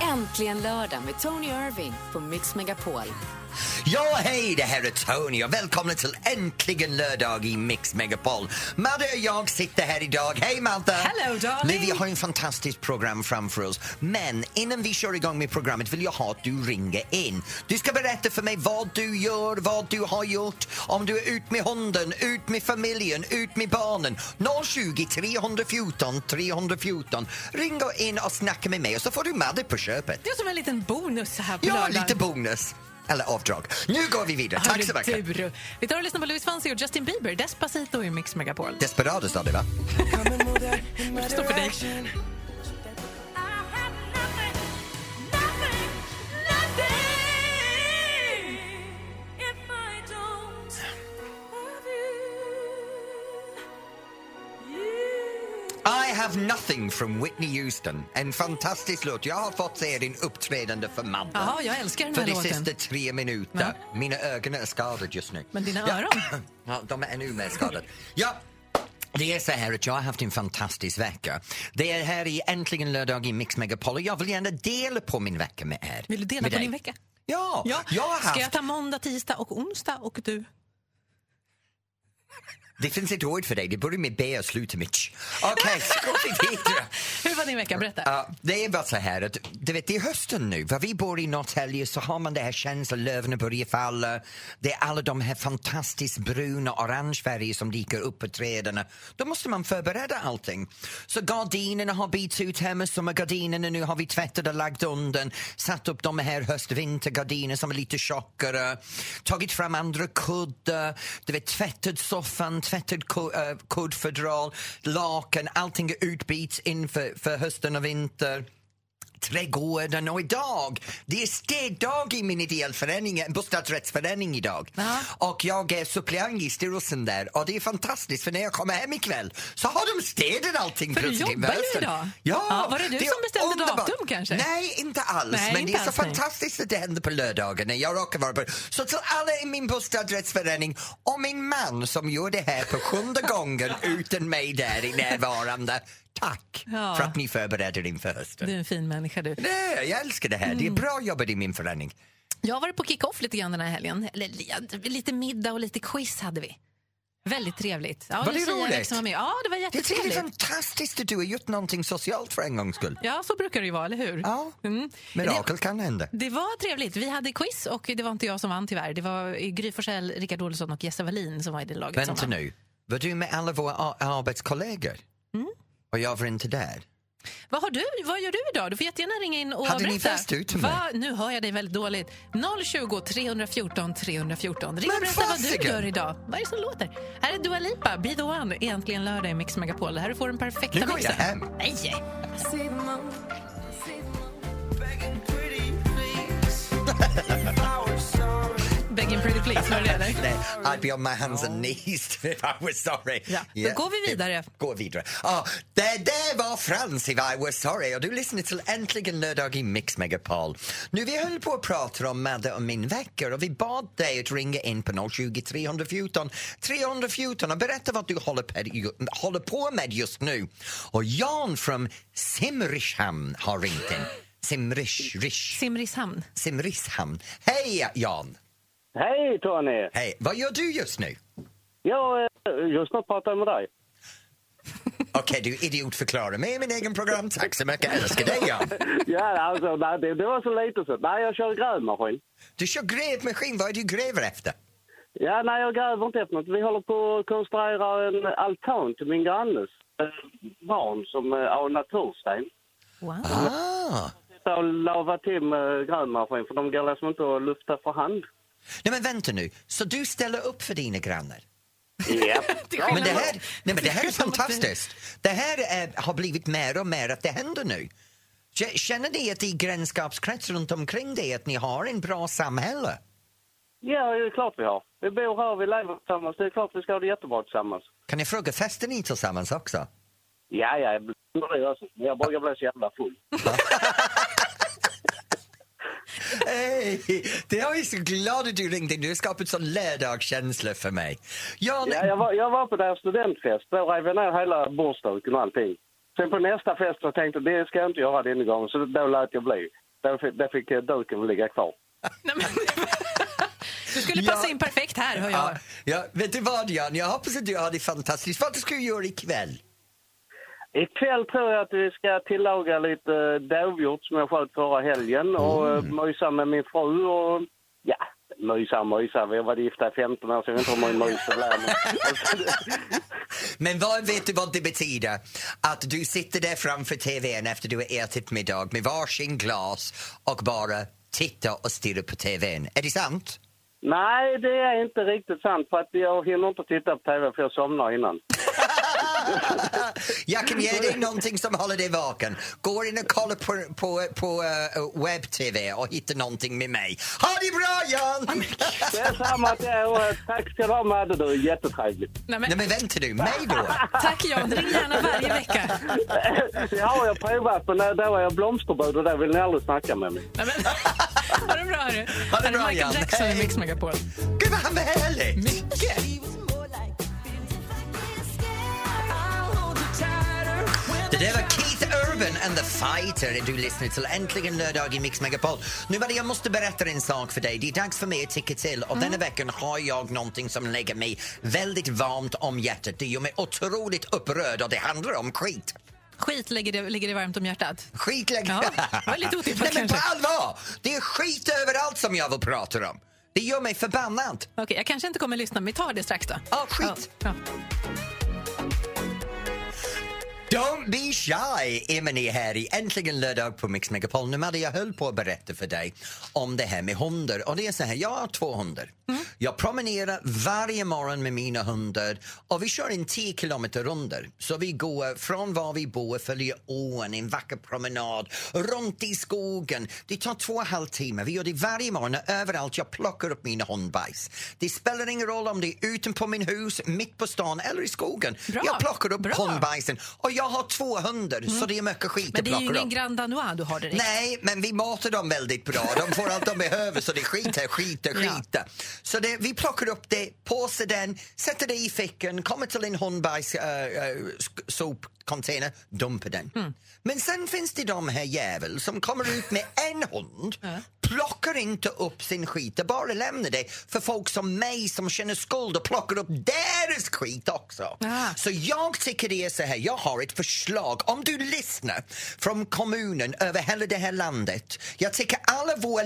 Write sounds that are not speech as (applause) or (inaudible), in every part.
Äntligen lördag med Tony Irving på Mix Megapol. Ja, hej, det här är Tony och välkomna till äntligen lördag i Mix Megapol. Madde och jag sitter här idag. Hej Malta! Hello, darling. Vi har en fantastiskt program framför oss. Men innan vi kör igång med programmet vill jag ha att du ringer in. Du ska berätta för mig vad du gör, vad du har gjort, om du är ut med hunden, ut med familjen, ut med barnen. 020 314 314. Ring och in och snacka med mig och så får du Madde på köpet. Det är som en liten bonus här på Ja, lördagen. lite bonus. Eller avdrag. Nu går vi vidare. Tack så Hörru mycket. du. Vi tar och lyssnar på Louis Fonsi och Justin Bieber, Despacito i Mix Megapol. Desperados sa du, va? Det står för dig. I have nothing from Whitney Houston. En fantastisk låt. Jag har fått se din uppträdande för Madde. Ja, jag älskar den För här de låten. sista tre minuterna. Mina ögon är skadade just nu. Men dina Ja. öron? (clears throat) Ja, de är ännu mer skadade. (laughs) Ja. Det är så här att jag har haft en fantastisk vecka. Det är här i Äntligen lördag i Mix Megapol och jag vill gärna dela på min vecka med er. Vill du dela med på dig. din vecka? Ja, Ja. jag har haft... Ska jag ta måndag, tisdag och onsdag och du? Det finns ett ord för dig. Det börjar med B och slutar med Ch. Okej, så går vi vidare. Hur var din vecka? Berätta. Ja, det är bara så här att du vet, det är hösten nu. Var vi bor i Norrtälje så har man det här känslan, löven börjar falla. Det är alla de här fantastiskt bruna och orange färger som dyker upp på träden. Då måste man förbereda allting. Så gardinerna har bytts ut hemma, sommargardinerna nu har vi tvättat och lagt undan. Satt upp de här höst-vintergardiner som är lite tjockare. Tagit fram andra kuddar, du vet tvättat soffan, tvättat ku- eh, kuddfodral, lakan, allting är utbytt inför för hösten och vinter trädgården och idag, det är städdag i min idealförening, en bostadsrättsförening idag. Ja. Och jag är suppleant i styrelsen där och det är fantastiskt för när jag kommer hem ikväll så har de städat allting För du plötsligt jobbar ju hösten. idag. Ja, Ja, var det du är som bestämde underbart. datum kanske? Nej, inte alls. Nej, men inte det är så alls, nej. fantastiskt att det händer på lördagen när jag råkar vara på Så till alla i min bostadsrättsförening och min man som gör det här för sjunde (laughs) gången utan mig där i närvarande. Tack Ja. för att ni förbereder inför hösten. Du är en fin människa du. Nej, jag älskar det här. Mm. Det är bra jobbat i min förening. Jag har varit på kick-off lite grann den här helgen. Eller, li- lite middag och lite quiz hade vi. Väldigt trevligt. Ja, Var det Lucia roligt? Eriksson var med. liksom Ja, det var Det är jättetrevligt. tydligen fantastiskt att du har gjort någonting socialt för en gångs skull. Ja, så brukar det ju vara, eller hur? Ja, Mm. mirakel kan hända. Det var trevligt. Vi hade quiz och det var inte jag som vann tyvärr. Det var Gry Forssell, Rickard Olsson och Jesse Wallin som var i det laget som Vänta vann. nu, var du med alla våra a- arbetskollegor? Mm. Och jag var inte där? Vad, har du, vad gör du idag? Du får jättegärna ringa in och Hade ni berätta. fest ut med Va? Nu hör jag dig väldigt dåligt. 020 314 314. Ring och Men berätta vad du fasiken! gör idag. Vad är det som låter? Här är Dua Lipa, Be the One, egentligen lördag i Mix Megapol. Det här får den perfekta Nu går jag mixen. hem. Nej! Begging pretty please, var det det eller? Nej, I'd be on my hands and knees (laughs) if I was sorry. Ja, då går vi vidare. Gå vidare. Ja, det där var Frans if I was sorry och du lyssnar till Äntligen lördag i Mix Megapol. Nu vi höll på att prata om Madde och min vecka och vi bad dig att ringa in på 020 314 314 och berätta vad du håller på, håller på med just nu. Och Jan från Simrishamn har ringt in. Simrish, rish, Simrishamn. Simrishamn. Hej Jan! Hej Tony! Hej, vad gör du just nu? Jag eh, just nu pratar jag med dig. Okej, du idiot förklarar mig i min egen program. Tack så mycket, älskar dig Jan. Ja, alltså, nej, det, det var så lite så. Nej, jag kör grävmaskin. Du kör grävmaskin, vad är det du gräver efter? Ja, nej, jag gräver inte efter något. Vi håller på att konstruera en altan till min grannes eh, barn som eh, har natursten. Wow. Ah. Så lava till med grävmaskin för de går liksom inte att lufta för hand. Nej men vänta nu, så du ställer upp för dina grannar? Japp. Ja, Men det här, nej, men det här är fantastiskt. Det här är, har blivit mer och mer att det händer nu. K- Känner ni att i grannskapskrets runt omkring dig att ni har en bra samhälle? ja, det är klart vi har. Vi bor här, vi lever tillsammans. Det är klart vi ska ha det jättebra tillsammans. Kan jag fråga, festar ni tillsammans också? Ja, ja, jag blir det också. Men jag brukar bli så jävla full. Hej! Det jag är så glad att du ringde. Du har skapat sån lördagskänsla för mig. Jan, Ja, jag, var, jag var på deras studentfest. Då rev jag ner hela bordsduken och allting. Sen på nästa fest så tänkte jag det ska jag inte göra denna gången, så då lät jag bli. Där fick, där fick eh, duken ligga kvar. Nej, men, (laughs) du skulle passa Ja. in perfekt här, hör jag. Ja, ja, vet du vad Jan, jag hoppas att du har det fantastiskt. Vad ska du göra ikväll? Ikväll tror jag att vi ska tillaga lite eh, dovhjort som jag sköt förra helgen och mm. mysa med min fru och ja, mysa mysa. Vi har varit gifta i 15 år så jag vet inte hur man myser där. men- Men vad vet du vad det betyder? Att du sitter där framför tvn efter du har ätit middag med varsin glas och bara tittar och stirrar på tvn. Är det sant? Nej, det är inte riktigt sant för att jag hinner inte titta på tv för jag somnar innan. Jag kan ge dig någonting som håller dig vaken. Gå in och kolla på, på, på eh, webb-tv och hitta någonting med mig. Ha det bra Jan! Det är samma till er och eh, tack ska du ha Madde, du är jättetrevlig. Nej, Nej men, men vänta nu, mig då? tack, Jan. Ring gärna varje vecka. Det har jag provat men eh, då var jag blomsterbud och där vill ni aldrig snacka med mig. Nej, men, ha det bra, hörru. bra, Här är Michael Jan. Jackson i Hej. Mix Megapol. Gud vad han var härlig! Mycket. Det där var Keith Urban and the Fighter. Du lyssnar till Äntligen lördag i Mix Megapol. Nu var det, jag måste berätta en sak för dig. Det är dags för mig att ticka till och Mm. denna veckan har jag någonting som lägger mig väldigt varmt om hjärtat. Det gör mig otroligt upprörd och det handlar om skit. Skit ligger det, ligger det varmt om hjärtat. Skit lägger... Ja, det var lite otippat Nej men på kanske. allvar! Det är skit överallt som jag vill prata om. Det gör mig förbannad. Okej, jag kanske inte kommer lyssna, men vi tar det strax då. Ja, skit. Ja, Don't be shy, Emily här i Äntligen lördag på Mix Megapol. Nu hade jag höll på att berätta för dig om det här med hundar. Och det är så här, jag har två hundar. Mm. Jag promenerar varje morgon med mina hundar och vi kör en 10 kilometer runder. Så vi går från var vi bor, följer ån, en vacker promenad, runt i skogen. Det tar två och en halv timme. Vi gör det varje morgon och överallt. Jag plockar upp mina hundbajs. Det spelar ingen roll om det är utanpå min hus, mitt på stan eller i skogen. Bra. Jag plockar upp Bra. hundbajs bajsen. Och jag har 200 så det är mycket skit Mm. Men att det är ju plocka ingen upp. Grand Danois du har direkt. Nej, men vi matar dem väldigt bra. De får allt (laughs) de behöver så det är skit här, skit här, Ja. skit här. Så det, vi plockar upp det, påsar den, sätter det i fickan, kommer till en hundbajs äh, äh, sk- sopcontainer, dumpar den. Mm. Men sen finns det de här jävel som kommer ut med en hund, plockar inte upp sin skit och bara lämnar det för folk som mig som känner skuld och plockar upp deras skit också. Ah. Så jag tycker det är så här, jag har ett förslag. Om du lyssnar från kommunen över hela det här landet. Jag tycker alla våra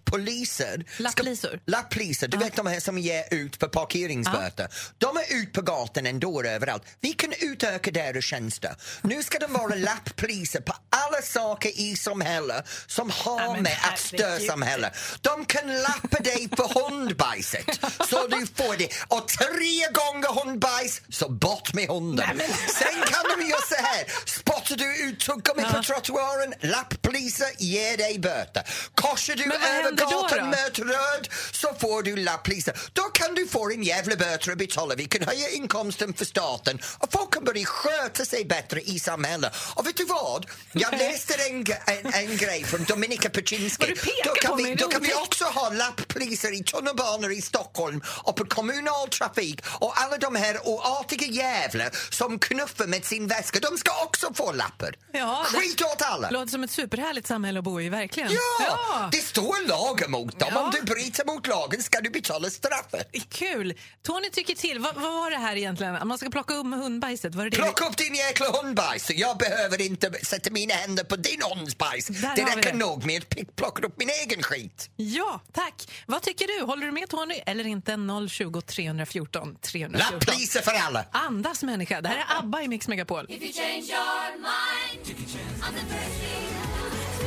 lapppoliser... ska- Lapplisor? Lapplisor, du vet de här som ger ut för parkeringsböter. De är ut på gatan ändå överallt. Vi kan utöka deras tjänster. Nu ska de vara lapppoliser på alla saker i samhället som har Ja, men med att herregud. störa samhället. De kan lappa dig på hundbajset så du får det. Och tre gånger hundbajs så bort med hunden. Sen kan de göra så här. Spottar du ut tuggummi på trottoaren, lapppoliser ger dig böter. Korsar du Men vad över händer då, gatan då? möt röd så får du lapppoliser. Då kan du få en jävla böter att betala. Vi kan höja inkomsten för staten och folk kan börja sköta sig bättre i samhället. Och vet du vad? Jag läste en, g- en, en grej från Dominika Paczynski. Vad du pekar Då kan, på vi, mig, då kan vi roligt. också ha lapppriser i tunnelbanor i Stockholm och på kommunal trafik och alla de här oartiga jävlar som knuffar med sin väska, de ska också få lappar. Ja, det- Skit åt alla! Låter som ett superhärligt samhälle att bo i, verkligen. Ja! Det står lag emot dem. Ja. Om du bryter mot lagen ska du betala straffet. Kul! Tony tycker till. Vad, vad var det här egentligen? Att Man ska plocka upp hundbajset? Var det det vi- Plocka upp din jäkla hundbajs. Jag behöver inte sätta mina händer på din hundsbajs. Där Det har vi räcker det. nog med att pick- plocka upp min egen skit. Ja, tack. Vad tycker du? Håller du med Tony eller inte? 020 314 314. Lappliser för alla. Andas människa. Det här är ABBA i Mix Megapol. If you change your mind, I'm the first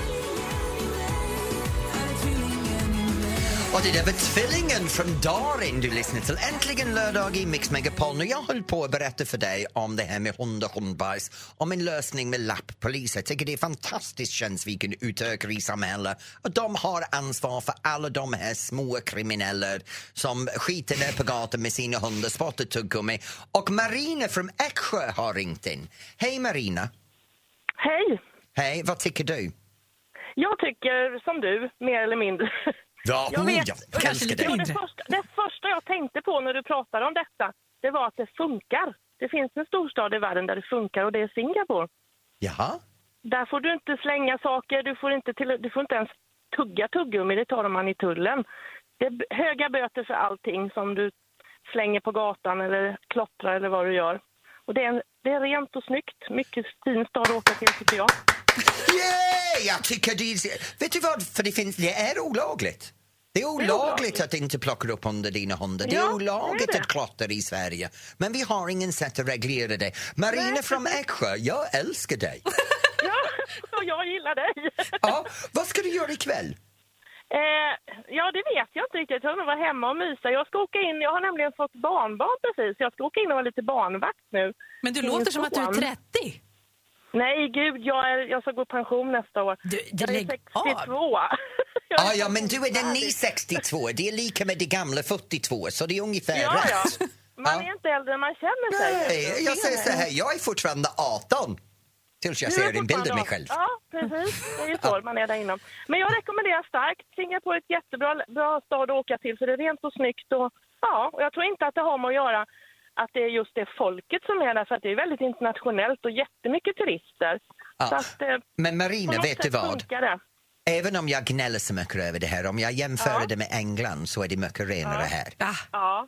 Och det där var tvillingen från Darin du lyssnar till. Äntligen lördag i Mix Megapol. Och jag höll på att berätta för dig om det här med hund och hundbajs. Om en lösning med lapppoliser. Jag tycker det är fantastiskt tjänst vi kan utöka i samhället. Och de har ansvar för alla de här små krimineller som skiter ner på gatan med sina hundar, spottar tuggummi. Och Marina från Eksjö har ringt in. Hej Marina! Hej! Hej, vad tycker du? Jag tycker som du, mer eller mindre. Ja, Jag vet. jag älskar lite dig. Och det, mindre. första, det första jag tänkte på när du pratade om detta, det var att det funkar. Det finns en storstad i världen där det funkar och det är Singapore. Jaha? Där får du inte slänga saker, du får inte, till, du får inte ens tugga tuggummi, det tar man i tullen. Det är b- höga böter för allting som du slänger på gatan eller klottrar eller vad du gör. Och det är, en, det är rent och snyggt. Mycket fin stad att åka till tycker jag. (laughs) Yeah! Jag tycker det är... Vet du vad? För det, finns, det är olagligt. Det är olagligt att inte plocka upp under dina hundar. Det är Ja, olagligt det är det. att klotter i Sverige. Men vi har ingen sätt att reglera det. Marina från Eksjö, jag älskar dig. Ja, och jag gillar dig. Ja, vad ska du göra (laughs) ikväll? Eh, ja, det vet jag inte riktigt. Jag har nog varit hemma och mysa. Jag ska åka in, jag har nämligen fått barnbarn precis. Jag ska åka in och vara lite barnvakt nu. Men du Min låter som att du är son. 30. Nej, gud, jag, är, jag ska gå i pension nästa år. Du- du jag är lägg 62. (laughs) Jag är Ah, ja, men du är den ny färdig. 62. Det är lika med det gamla 42, så det är ungefär Ja, rätt. ja. Man Ja. är inte äldre än man känner sig. (laughs) Nej, jag säger så här, jag är fortfarande 18. Tills jag Du är ser en bild av mig fortfarande- själv. Ja, precis. (laughs) Det är ju så man är där inom. Men jag rekommenderar starkt. Singapore är ett jättebra bra stad att åka till för det är rent och snyggt. Och, ja, och jag tror inte att det har med att göra att det är just det folket som är där för att det är väldigt internationellt och jättemycket turister. Ja. Så att, eh, Men på Marina, något vet du sätt vad? funkar det. Även om jag gnäller så mycket över det här, om jag jämför Ja. det med England så är det mycket renare här. Ah, Ja.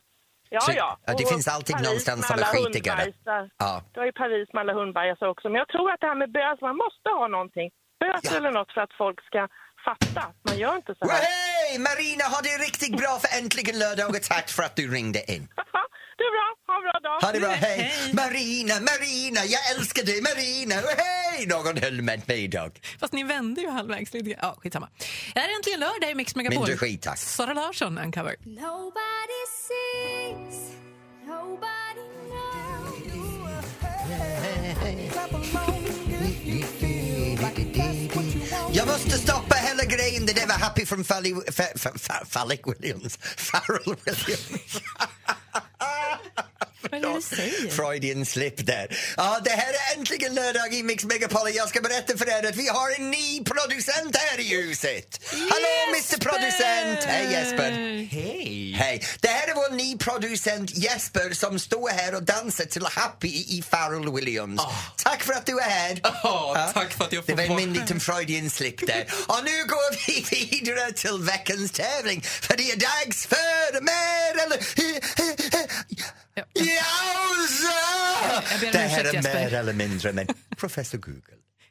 Ja, Så- ja. ja, det Och finns alltid Paris någonstans med som är alla skitigare. hundbajsar. Ja. Du har ju Paris med alla hundbajsar också. Men jag tror att det här med böter, man måste ha någonting. Böter Ja. eller något för att folk ska fatta att man gör inte så här. Hej Marina, ha det riktigt bra för äntligen lördag och tack för att du ringde in. Du är bra, ha en bra dag. Ha det bra, hej! Marina, Marina, jag älskar dig Marina! Hej! Någon höll med mig idag. fast ni vände ju halvvägs lite grann. Ja, skitsamma. Här är äntligen lördag i Mix Megapol. Mindre skit, tack. Sara Larsson, en cover. Nobody sees, nobody knows. Jag måste stoppa hela grejen, det där var Happy från Fally, Fa- Fa- Fa- Fallick Williams. Farrell Williams. Vad är det du säger? Freudian slip där. Ja, det här är äntligen lördag i Mix Megapol jag ska berätta för er att vi har en ny producent här i huset. Hallå Mr Producent! Hej Jesper! Hej! Hej! Det här är vår ny producent Jesper som står här och dansar till Happy i Pharrell Williams. Tack för att du är här! Ja, tack för att jag Det får var vara min liten Freudian slip (laughs) där. Och nu går vi vidare till veckans tävling för det är dags för mer eller... Jag ber Jausa! om Det här ursäkt, är Jesper. mer eller mindre men professor Google.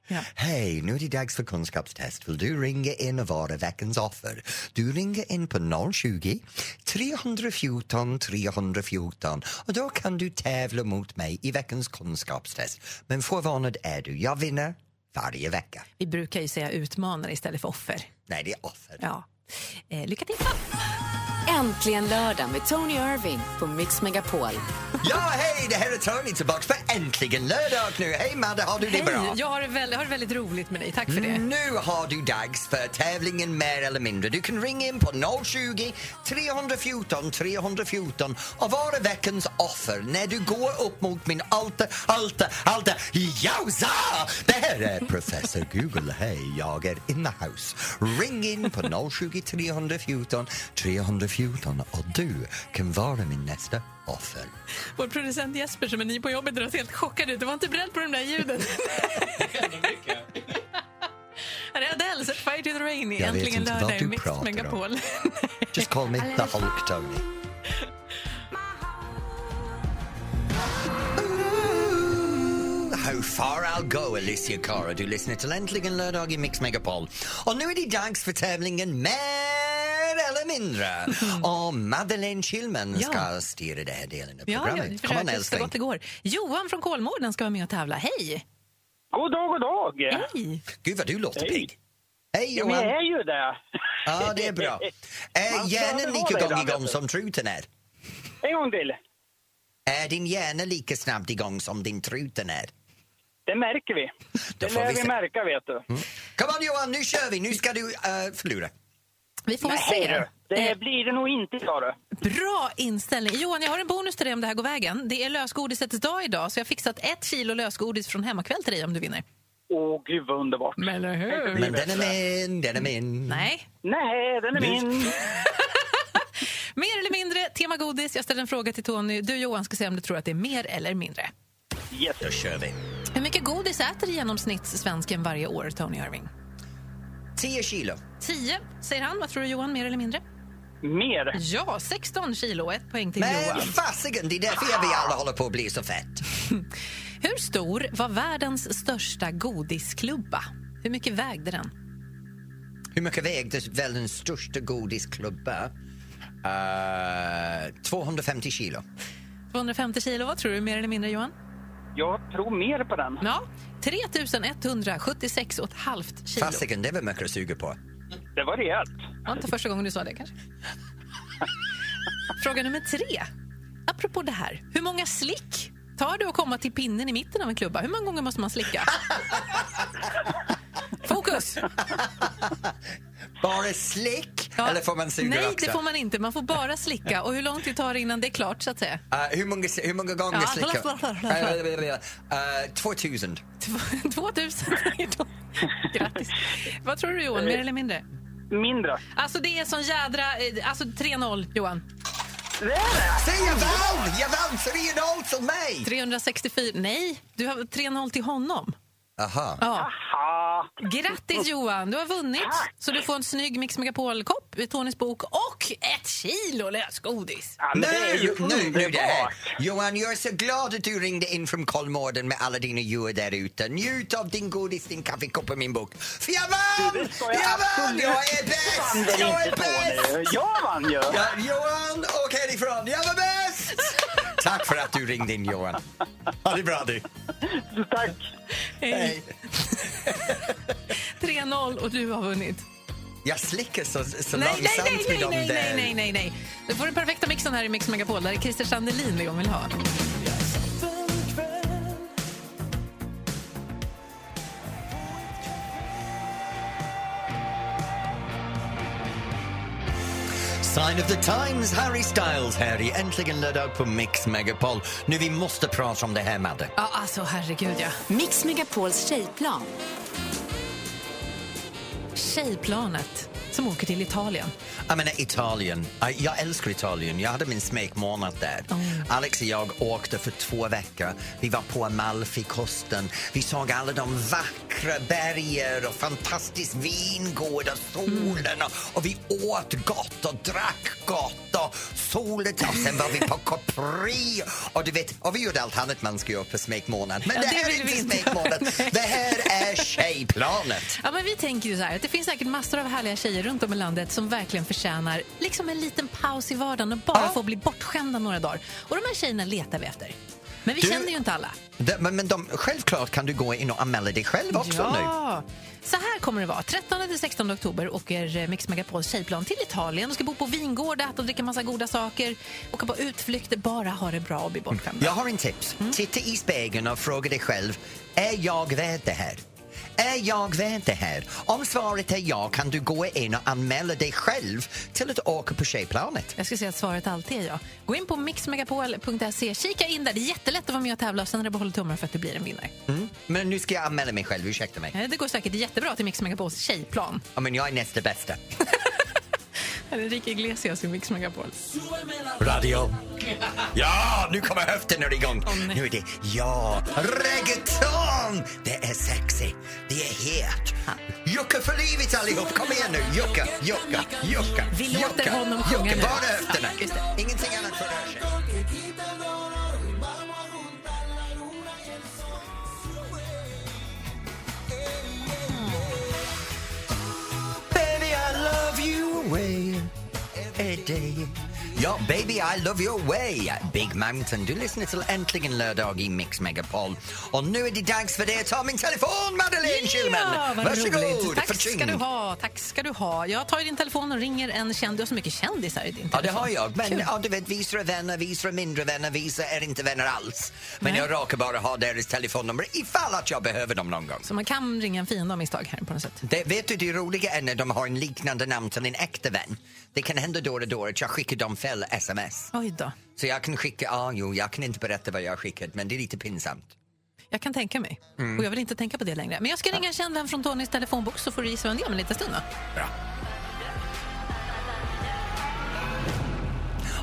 Ja. Hej, nu är det dags för kunskapstest. Vill du ringa in och vara veckans offer? Du ringer in på 020 314 314 och då kan du tävla mot mig i veckans kunskapstest. Men förvånad är du, jag vinner varje vecka. Vi brukar ju säga utmanare istället för offer. Nej, det är offer. Ja. Eh, lycka till! Äntligen lördag med Tony Irving på Mix Megapol. Ja, hej, det här är Tony tillbaks för äntligen lördag nu. Hej Madde, har du det bra? Hej, jag har det, väldigt, har det väldigt roligt med dig. Tack för det. Mm, Nu har du dags för tävlingen Mer eller mindre. Du kan ringa in på 020 314 314 och vara veckans offer när du går upp mot min alta, alta, alta jausa! Det här är professor Google. Hej, jag är in the house. Ring in på 020 314 314 och du kan vara min nästa offer. Vår producent Jesper som är ny på jobbet drar sig helt chockad ut. Du var inte beredd på de (laughs) där ljuden. Här är Adele, Set Fire to the Rain i Jag vet Äntligen inte vad lördag i du Mix pratar om. Megapol. (laughs) Just call me the Hulk, Tony. How far I'll go, Alicia Cara. Du lyssnar till Äntligen lördag i Mix Megapol. Och nu är det dags för tävlingen Mer eller (laughs) mindre. Och Madeleine Kilman Ja. ska styra det här delen av Ja, programmet. jag Kom on, försökte så älskling. gott det går. Johan från Kolmården ska vara med och tävla. Hej! God dag, god dag! Hej! Gud vad du låter Hej. pigg. Hej Ja, men Johan. jag är ju det. Ja, det (laughs) är bra. Eh, Är Man ska hjärnan väl vara lika det gång ibland, igång vet du. som truten är? En gång till. Är din hjärna lika snabbt igång som din truten är? Det märker vi. Då Det får lär vi vi se. märka, vet du. Kom on Johan, nu kör vi! Nu ska du eh, förlora. Vi får väl Hej se. du! Det Eh, blir det nog inte, sa du. Bra inställning. Johan, jag har en bonus till dig om det här går vägen. Det är lösgodisets dag idag så jag har fixat ett kilo lösgodis från hemmakväll till dig om du vinner. Åh, gud vad underbart. Eller hur? Men den är min, den är min. Nej. Nej, den är min. Mer eller mindre, tema godis. Jag ställer en fråga till Tony. Du Johan ska säga om du tror att det är mer eller mindre. Yes. Då kör vi. Hur mycket godis äter i genomsnitt svensken varje år, Tony Irving? 10 kilo. 10, säger han. Vad tror du, Johan? Mer eller mindre? Mer. Ja, 16 kilo. Ett poäng till Men Johan. fasiken, det är därför jag vi alla håller på att bli så fett. Hur stor var världens största godisklubba? Hur mycket vägde den? Hur mycket vägde världens största godisklubba? Eh, 250 kilo. 250 kilo. Vad tror du, mer eller mindre, Johan? Jag tror mer på den. Ja, 3176 och ett halvt kilo. Fasiken, det var mycket att suga på. Det var rejält. Det var inte första gången du sa det kanske. Fråga nummer tre. Apropå det här, hur många slick tar du att komma till pinnen i mitten av en klubba? Hur många gånger måste man slicka? Fokus! Bara slick? Ja. Eller får man suga Nej, också? det får man inte. Man får bara slicka. Och hur lång tid tar det innan det är klart, så att säga? Eh, hur, många, hur många gånger Eh, Ja, slickar? Uh, 2000. (laughs) 2000 säger de. Grattis. Vad tror du, Johan? Mer eller mindre? Mindre. Alltså, det är sån jädra... eh, Alltså, 3-0, Johan. Säg jag vann! Jag vann 3-0 till mig! 364... Nej, du har 3-0 till honom. Aha. Ja. Ha. Grattis Johan, du har vunnit. Så du får en snygg Mix Megapol-kopp i Tonys bok och ett kilo lösgodis. Ja, men Nu, det är ju nu, nu det här. underbart. Johan, jag är så glad att du ringde in från Kolmården med alla dina djur där ute. Njut av din godis, din kaffekopp och min bok. För jag Du, vann! det ska Jag jag vann! absolut Jag Vann den är bäst! Jag är inte, bäst! Tony? Jag vann Eh, ju! Ja, Johan, åk härifrån. Jag var bäst! Tack för att du ringde in, Johan. Ha det bra, du. Tack! Hej. 3-0 och du har vunnit. Jag slickar så, så Nej, nej, långsamt med nej, nej, dem nej, där. nej, nej, nej, nej. Du får den perfekta mixen här i Mix Megapol. Där är Christer Sandelin det jag vill ha. Sign of the times, Harry Styles här i Äntligen lördag på Mix Megapol. Nu, vi måste prata om det här, Madde. Ja, alltså herregud ja. Mix Megapols tjejplan. Tjejplanet som åker till Italien. Jag menar Italien. Jag- Jag älskar Italien. Jag hade min smekmånad där. Mm. Alex och jag åkte för två veckor. Vi var på Amalfikusten. Vi såg alla de vackra berger och fantastisk vingård och solen. Mm. Och, och vi åt gott och drack gott och solen. Och sen var vi (laughs) på Capri. Och du vet, och vi gjorde allt annat man ska göra på smekmånad. Men Ja, det det här är vill vi inte inte göra. smekmånad. Nej. Det här (laughs) är tjejplanet. Ja, men vi tänker ju så här att det finns säkert massor av härliga tjejer runt om i landet som verkligen förtjänar liksom en liten paus i vardagen och bara Ja. få bli bortskämda några dagar. Och de här tjejerna letar vi efter. Men vi Du- känner ju inte alla. Det- Men, men de, självklart kan du gå in och anmäla dig själv också nu. ja. Så här kommer det vara. 13-16 oktober åker eh, Mix Megapols tjejplan till Italien. De ska bo på vingård, äta och dricka massa goda saker, åka på utflykter, bara ha det bra och bli bortskämda. Jag har en tips. Titta i spegeln och fråga dig själv, är jag värd det här? Är jag värd det här? Om svaret är ja kan du gå in och anmäla dig själv till att åka på tjejplanet. Jag ska säga att svaret alltid är ja. Gå in på mixmegapol.se, kika in där. Det är jättelätt att vara med och tävla och sen är det bara att hålla tummarna för att det blir en vinnare. Mm. Men nu ska jag anmäla mig själv, ursäkta mig. Eh, Det går säkert jättebra till Mix Megapols tjejplan. Ja, Men jag är nästa bästa. Enrique Iglesias i Mix Megapol. Radio. Ja, nu kommer höften är igång. nu är det ja, reggaeton! Det är sexy, det är het. Jucka för livet allihop, kom igen nu. Jucka, jucka, jucka. Vi låter jucka, honom sjunga Jucka, nu. bara höfterna. Ja, just det. Ingenting annat får röra sig. Baby, I love you away a day. Ja, baby, I love you away, Big Mountain. Du lyssnar till Äntligen lördag i Mix Megapol. Och nu är det dags för dig att ta min telefon, Madeleine Kilman. vad roligt. Varsågod, Tack Förtyng. ska du ha. Tack ska du ha. Jag tar ju din telefon och ringer en kändis. Du har så mycket kändisar i din Ja, telefon. det har jag. Men Kul. ja, du vet, vissa är vänner, vissa är mindre vänner, vissa är inte vänner alls. Men Nej. jag råkar bara ha deras telefonnummer ifall att jag behöver dem någon gång. Så man kan ringa en fiende av misstag här på något sätt. Det, vet du, det roliga är när de har en liknande namn till en äkta vän. Det kan hända då och då att jag skickar dem fel sms. Oj då. Så jag kan skicka, ah, jo, jag kan inte berätta vad jag har skickat men det är lite pinsamt. Jag kan tänka mig. Mm. Och jag vill inte tänka på det längre. Men jag ska ringa en känd vän från Tonys telefonbok så får du gissa vem det är om en liten stund. Då. Bra.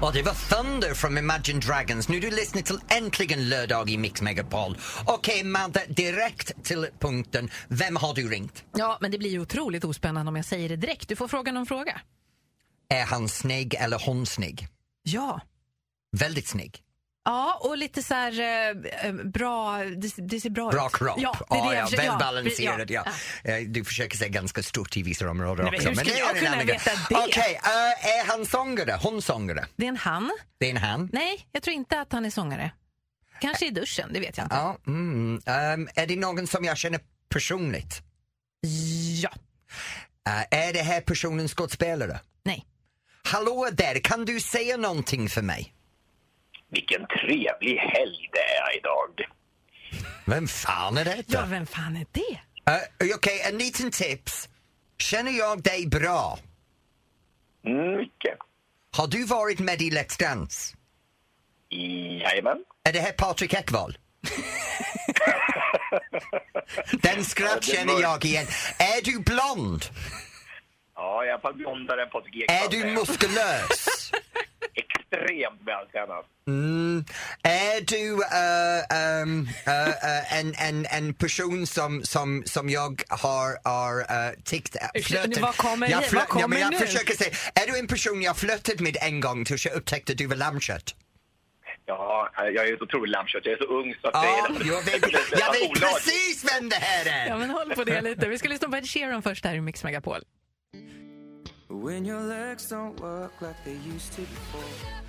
Och det var Thunder från Imagine Dragons. Nu du lyssnar till Äntligen lördag i Mix Megapol. Okej, Madde, direkt till punkten. Vem har du ringt? Ja, men det blir ju otroligt ospännande om jag säger det direkt. Du får fråga någon fråga. Är han snygg eller hon snygg? Ja. Väldigt snygg. Ja, och lite så här eh, eh, bra, det, det ser bra, Bra ut. kropp. Ja, det är det ja, jag ja, försöker- ja, välbalanserad. pre- Ja, Eh, Du försöker säga ganska stort i vissa områden Nej, men också. hur skulle det är jag en kunna annan grej. veta det? Okej, eh, är han sångare? Hon sångare? Det är en han. Det är en han? Nej, jag tror inte att han är sångare. Kanske i duschen, det vet jag inte. Ja, mm. Ehm, är det någon som jag känner personligt? Ja. Eh, är det här personen skådespelare? Nej. Hallå där, kan du säga någonting för mig? Vilken trevlig helg det är idag. Vem fan är detta? Ja, vem fan är det? Eh, Okej, en liten tips. Känner jag dig bra? Mm, mycket. Har du varit med i Let's Dance? Jajamän. Är det här Patrik Ekwall? Den skratt känner jag igen. Är du blond? Ja, i alla fall blondare än Patrik Ekwall. Är Äh, du muskulös? Extremt vältränad. Är du eh, ehm, eh, eh, en, en, en person som, som, som jag har, har eh, tyckt... eh, Ursäkta, flörtat- nu, vad kommer- jag vad flör- ja, kommer men jag nu? försöker säga, är du en person jag flörtat med en gång tills jag upptäckte att du var lammkött? Ja, jag är ett otroligt lammkött. Jag är så ung så att det Ja, är nästan- jag vet, (laughs) det är nästan jag vet olagligt. precis vem det här Ja, är! men håll på det lite. Vi ska lyssna på Ed Sheeran först här i Mix Megapol. When your legs don't work like they used to before.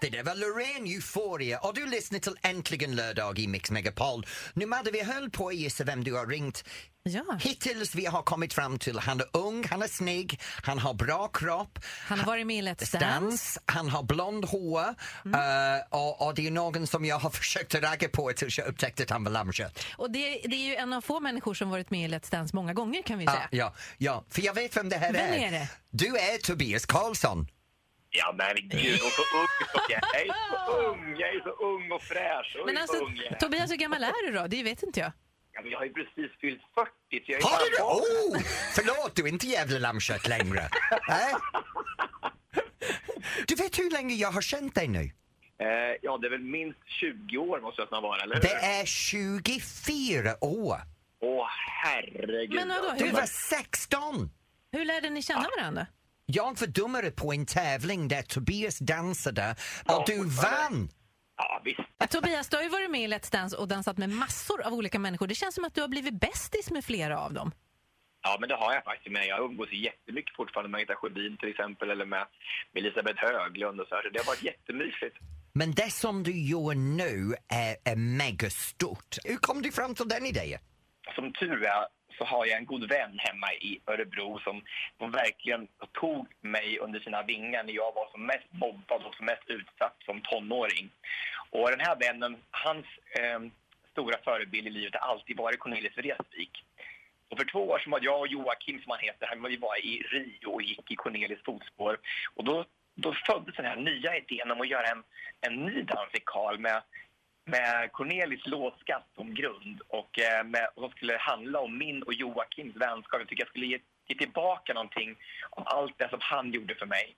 Det där var Loreen Euphoria och du lyssnar till Äntligen lördag i Mix Megapol. Nu Madde, vi höll på att gissa vem du har ringt. Ja. Hittills vi har kommit fram till han är ung, han är snygg, han har bra kropp, Han har varit med i Let's Dance. dans, han har blond hår Mm. eh, och, och det är någon som jag har (laughs) försökt att ragga på tills jag upptäckte att han var lammkött. Och det, det är ju en av få människor som varit med i Let's Dance många gånger kan vi Ja, säga. ja, ja, för jag vet vem det här Vem är. är det? Du är Tobias Karlsson. Ja, men gud, hon är så ung. Så jag är så ung. Jag är så ung och fräsch. Oj, Men alltså, så ung jag är. Tobias, hur gammal är du då? Det vet inte jag. Ja, men jag har ju precis fyllt 40. Så jag är Har du barnbarn. Oh, förlåt, du är inte jävla lammkött längre. Nej. Du vet hur länge jag har känt dig nu? Eh, ja, det är väl minst 20 år måste jag snart vara, eller hur? Det är 24 år. Åh, herregud. Men vadå, Du hur, var 16. hur lärde ni känna varandra? Jag var domare på en tävling där Tobias dansade och du vann. Ja, visst. Ja, Tobias, du har ju varit med i Let's Dance och dansat med massor av olika människor. Det känns som att du har blivit bästis med flera av dem. Ja, men det har jag faktiskt. Men jag umgås ju jättemycket fortfarande med Agneta Sjödin till exempel eller med med Elisabeth Höglund och så här. Så det har varit jättemysigt. Men det som du gör nu är, är megastort. Hur kom du fram till den idén? Som tur är så har jag en god vän hemma i Örebro som, som verkligen tog mig under sina vingar när jag var som mest mobbad och som mest utsatt som tonåring. Och den här vännen, hans ehm, stora förebild i livet har alltid varit Cornelis Vreeswijk. Och för två år sedan var jag och Joakim, som han heter, han- vi var i Rio och gick i Cornelis fotspår. Och då, då föddes den här nya idén om att göra en, en ny dansikal med, med Cornelis låtskatt som grund och eh, med, och som skulle handla om min och Joakims vänskap. Jag tycker jag skulle ge, ge tillbaka någonting av allt det som han gjorde för mig.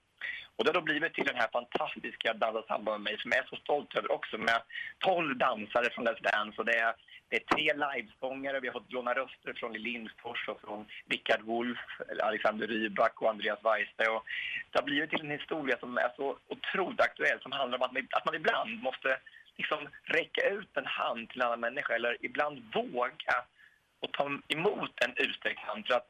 Och det har då blivit till den här fantastiska Dansa samba med mig som jag är så stolt över också med 12 dansare från Let's Dance och det är, det är tre livesångare. Vi har fått låna röster från Lill Lindfors och från Rickard Wolff, Alexander Rybak och Andreas Weise. Och det har blivit till en historia som är så otroligt aktuell som handlar om att man, att man ibland måste liksom räcka ut en hand till en annan människa eller ibland våga och ta emot en utsträckt hand för att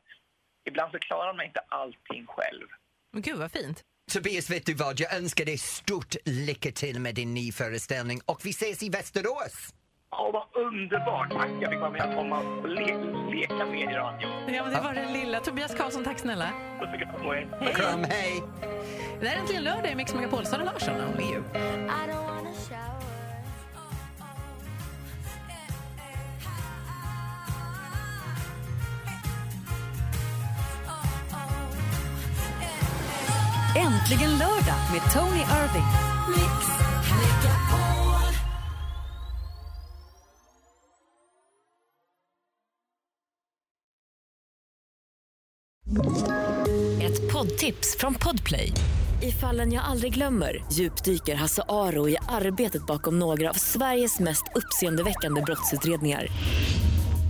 ibland så klarar man inte allting själv. Men Gud vad fint. Tobias, vet du vad? Jag önskar dig stort lycka till med din nya föreställning och vi ses i Västerås! Åh, vad underbart! Tack, jag fick vara med och komma och le- leka med er i radion. Ja, men det var den lilla. Tobias Karlsson, tack snälla. Puss och kram på er. Kram, hej! Det här är Äntligen lördag i Mix Megapol. Sara Larsson, only you. I don't wanna shower. Äntligen lördag med Tony Irving. Ett poddtips från Podplay. I fallen jag aldrig glömmer djupdyker Hasse Aro i arbetet bakom några av Sveriges mest uppseendeväckande brottsutredningar.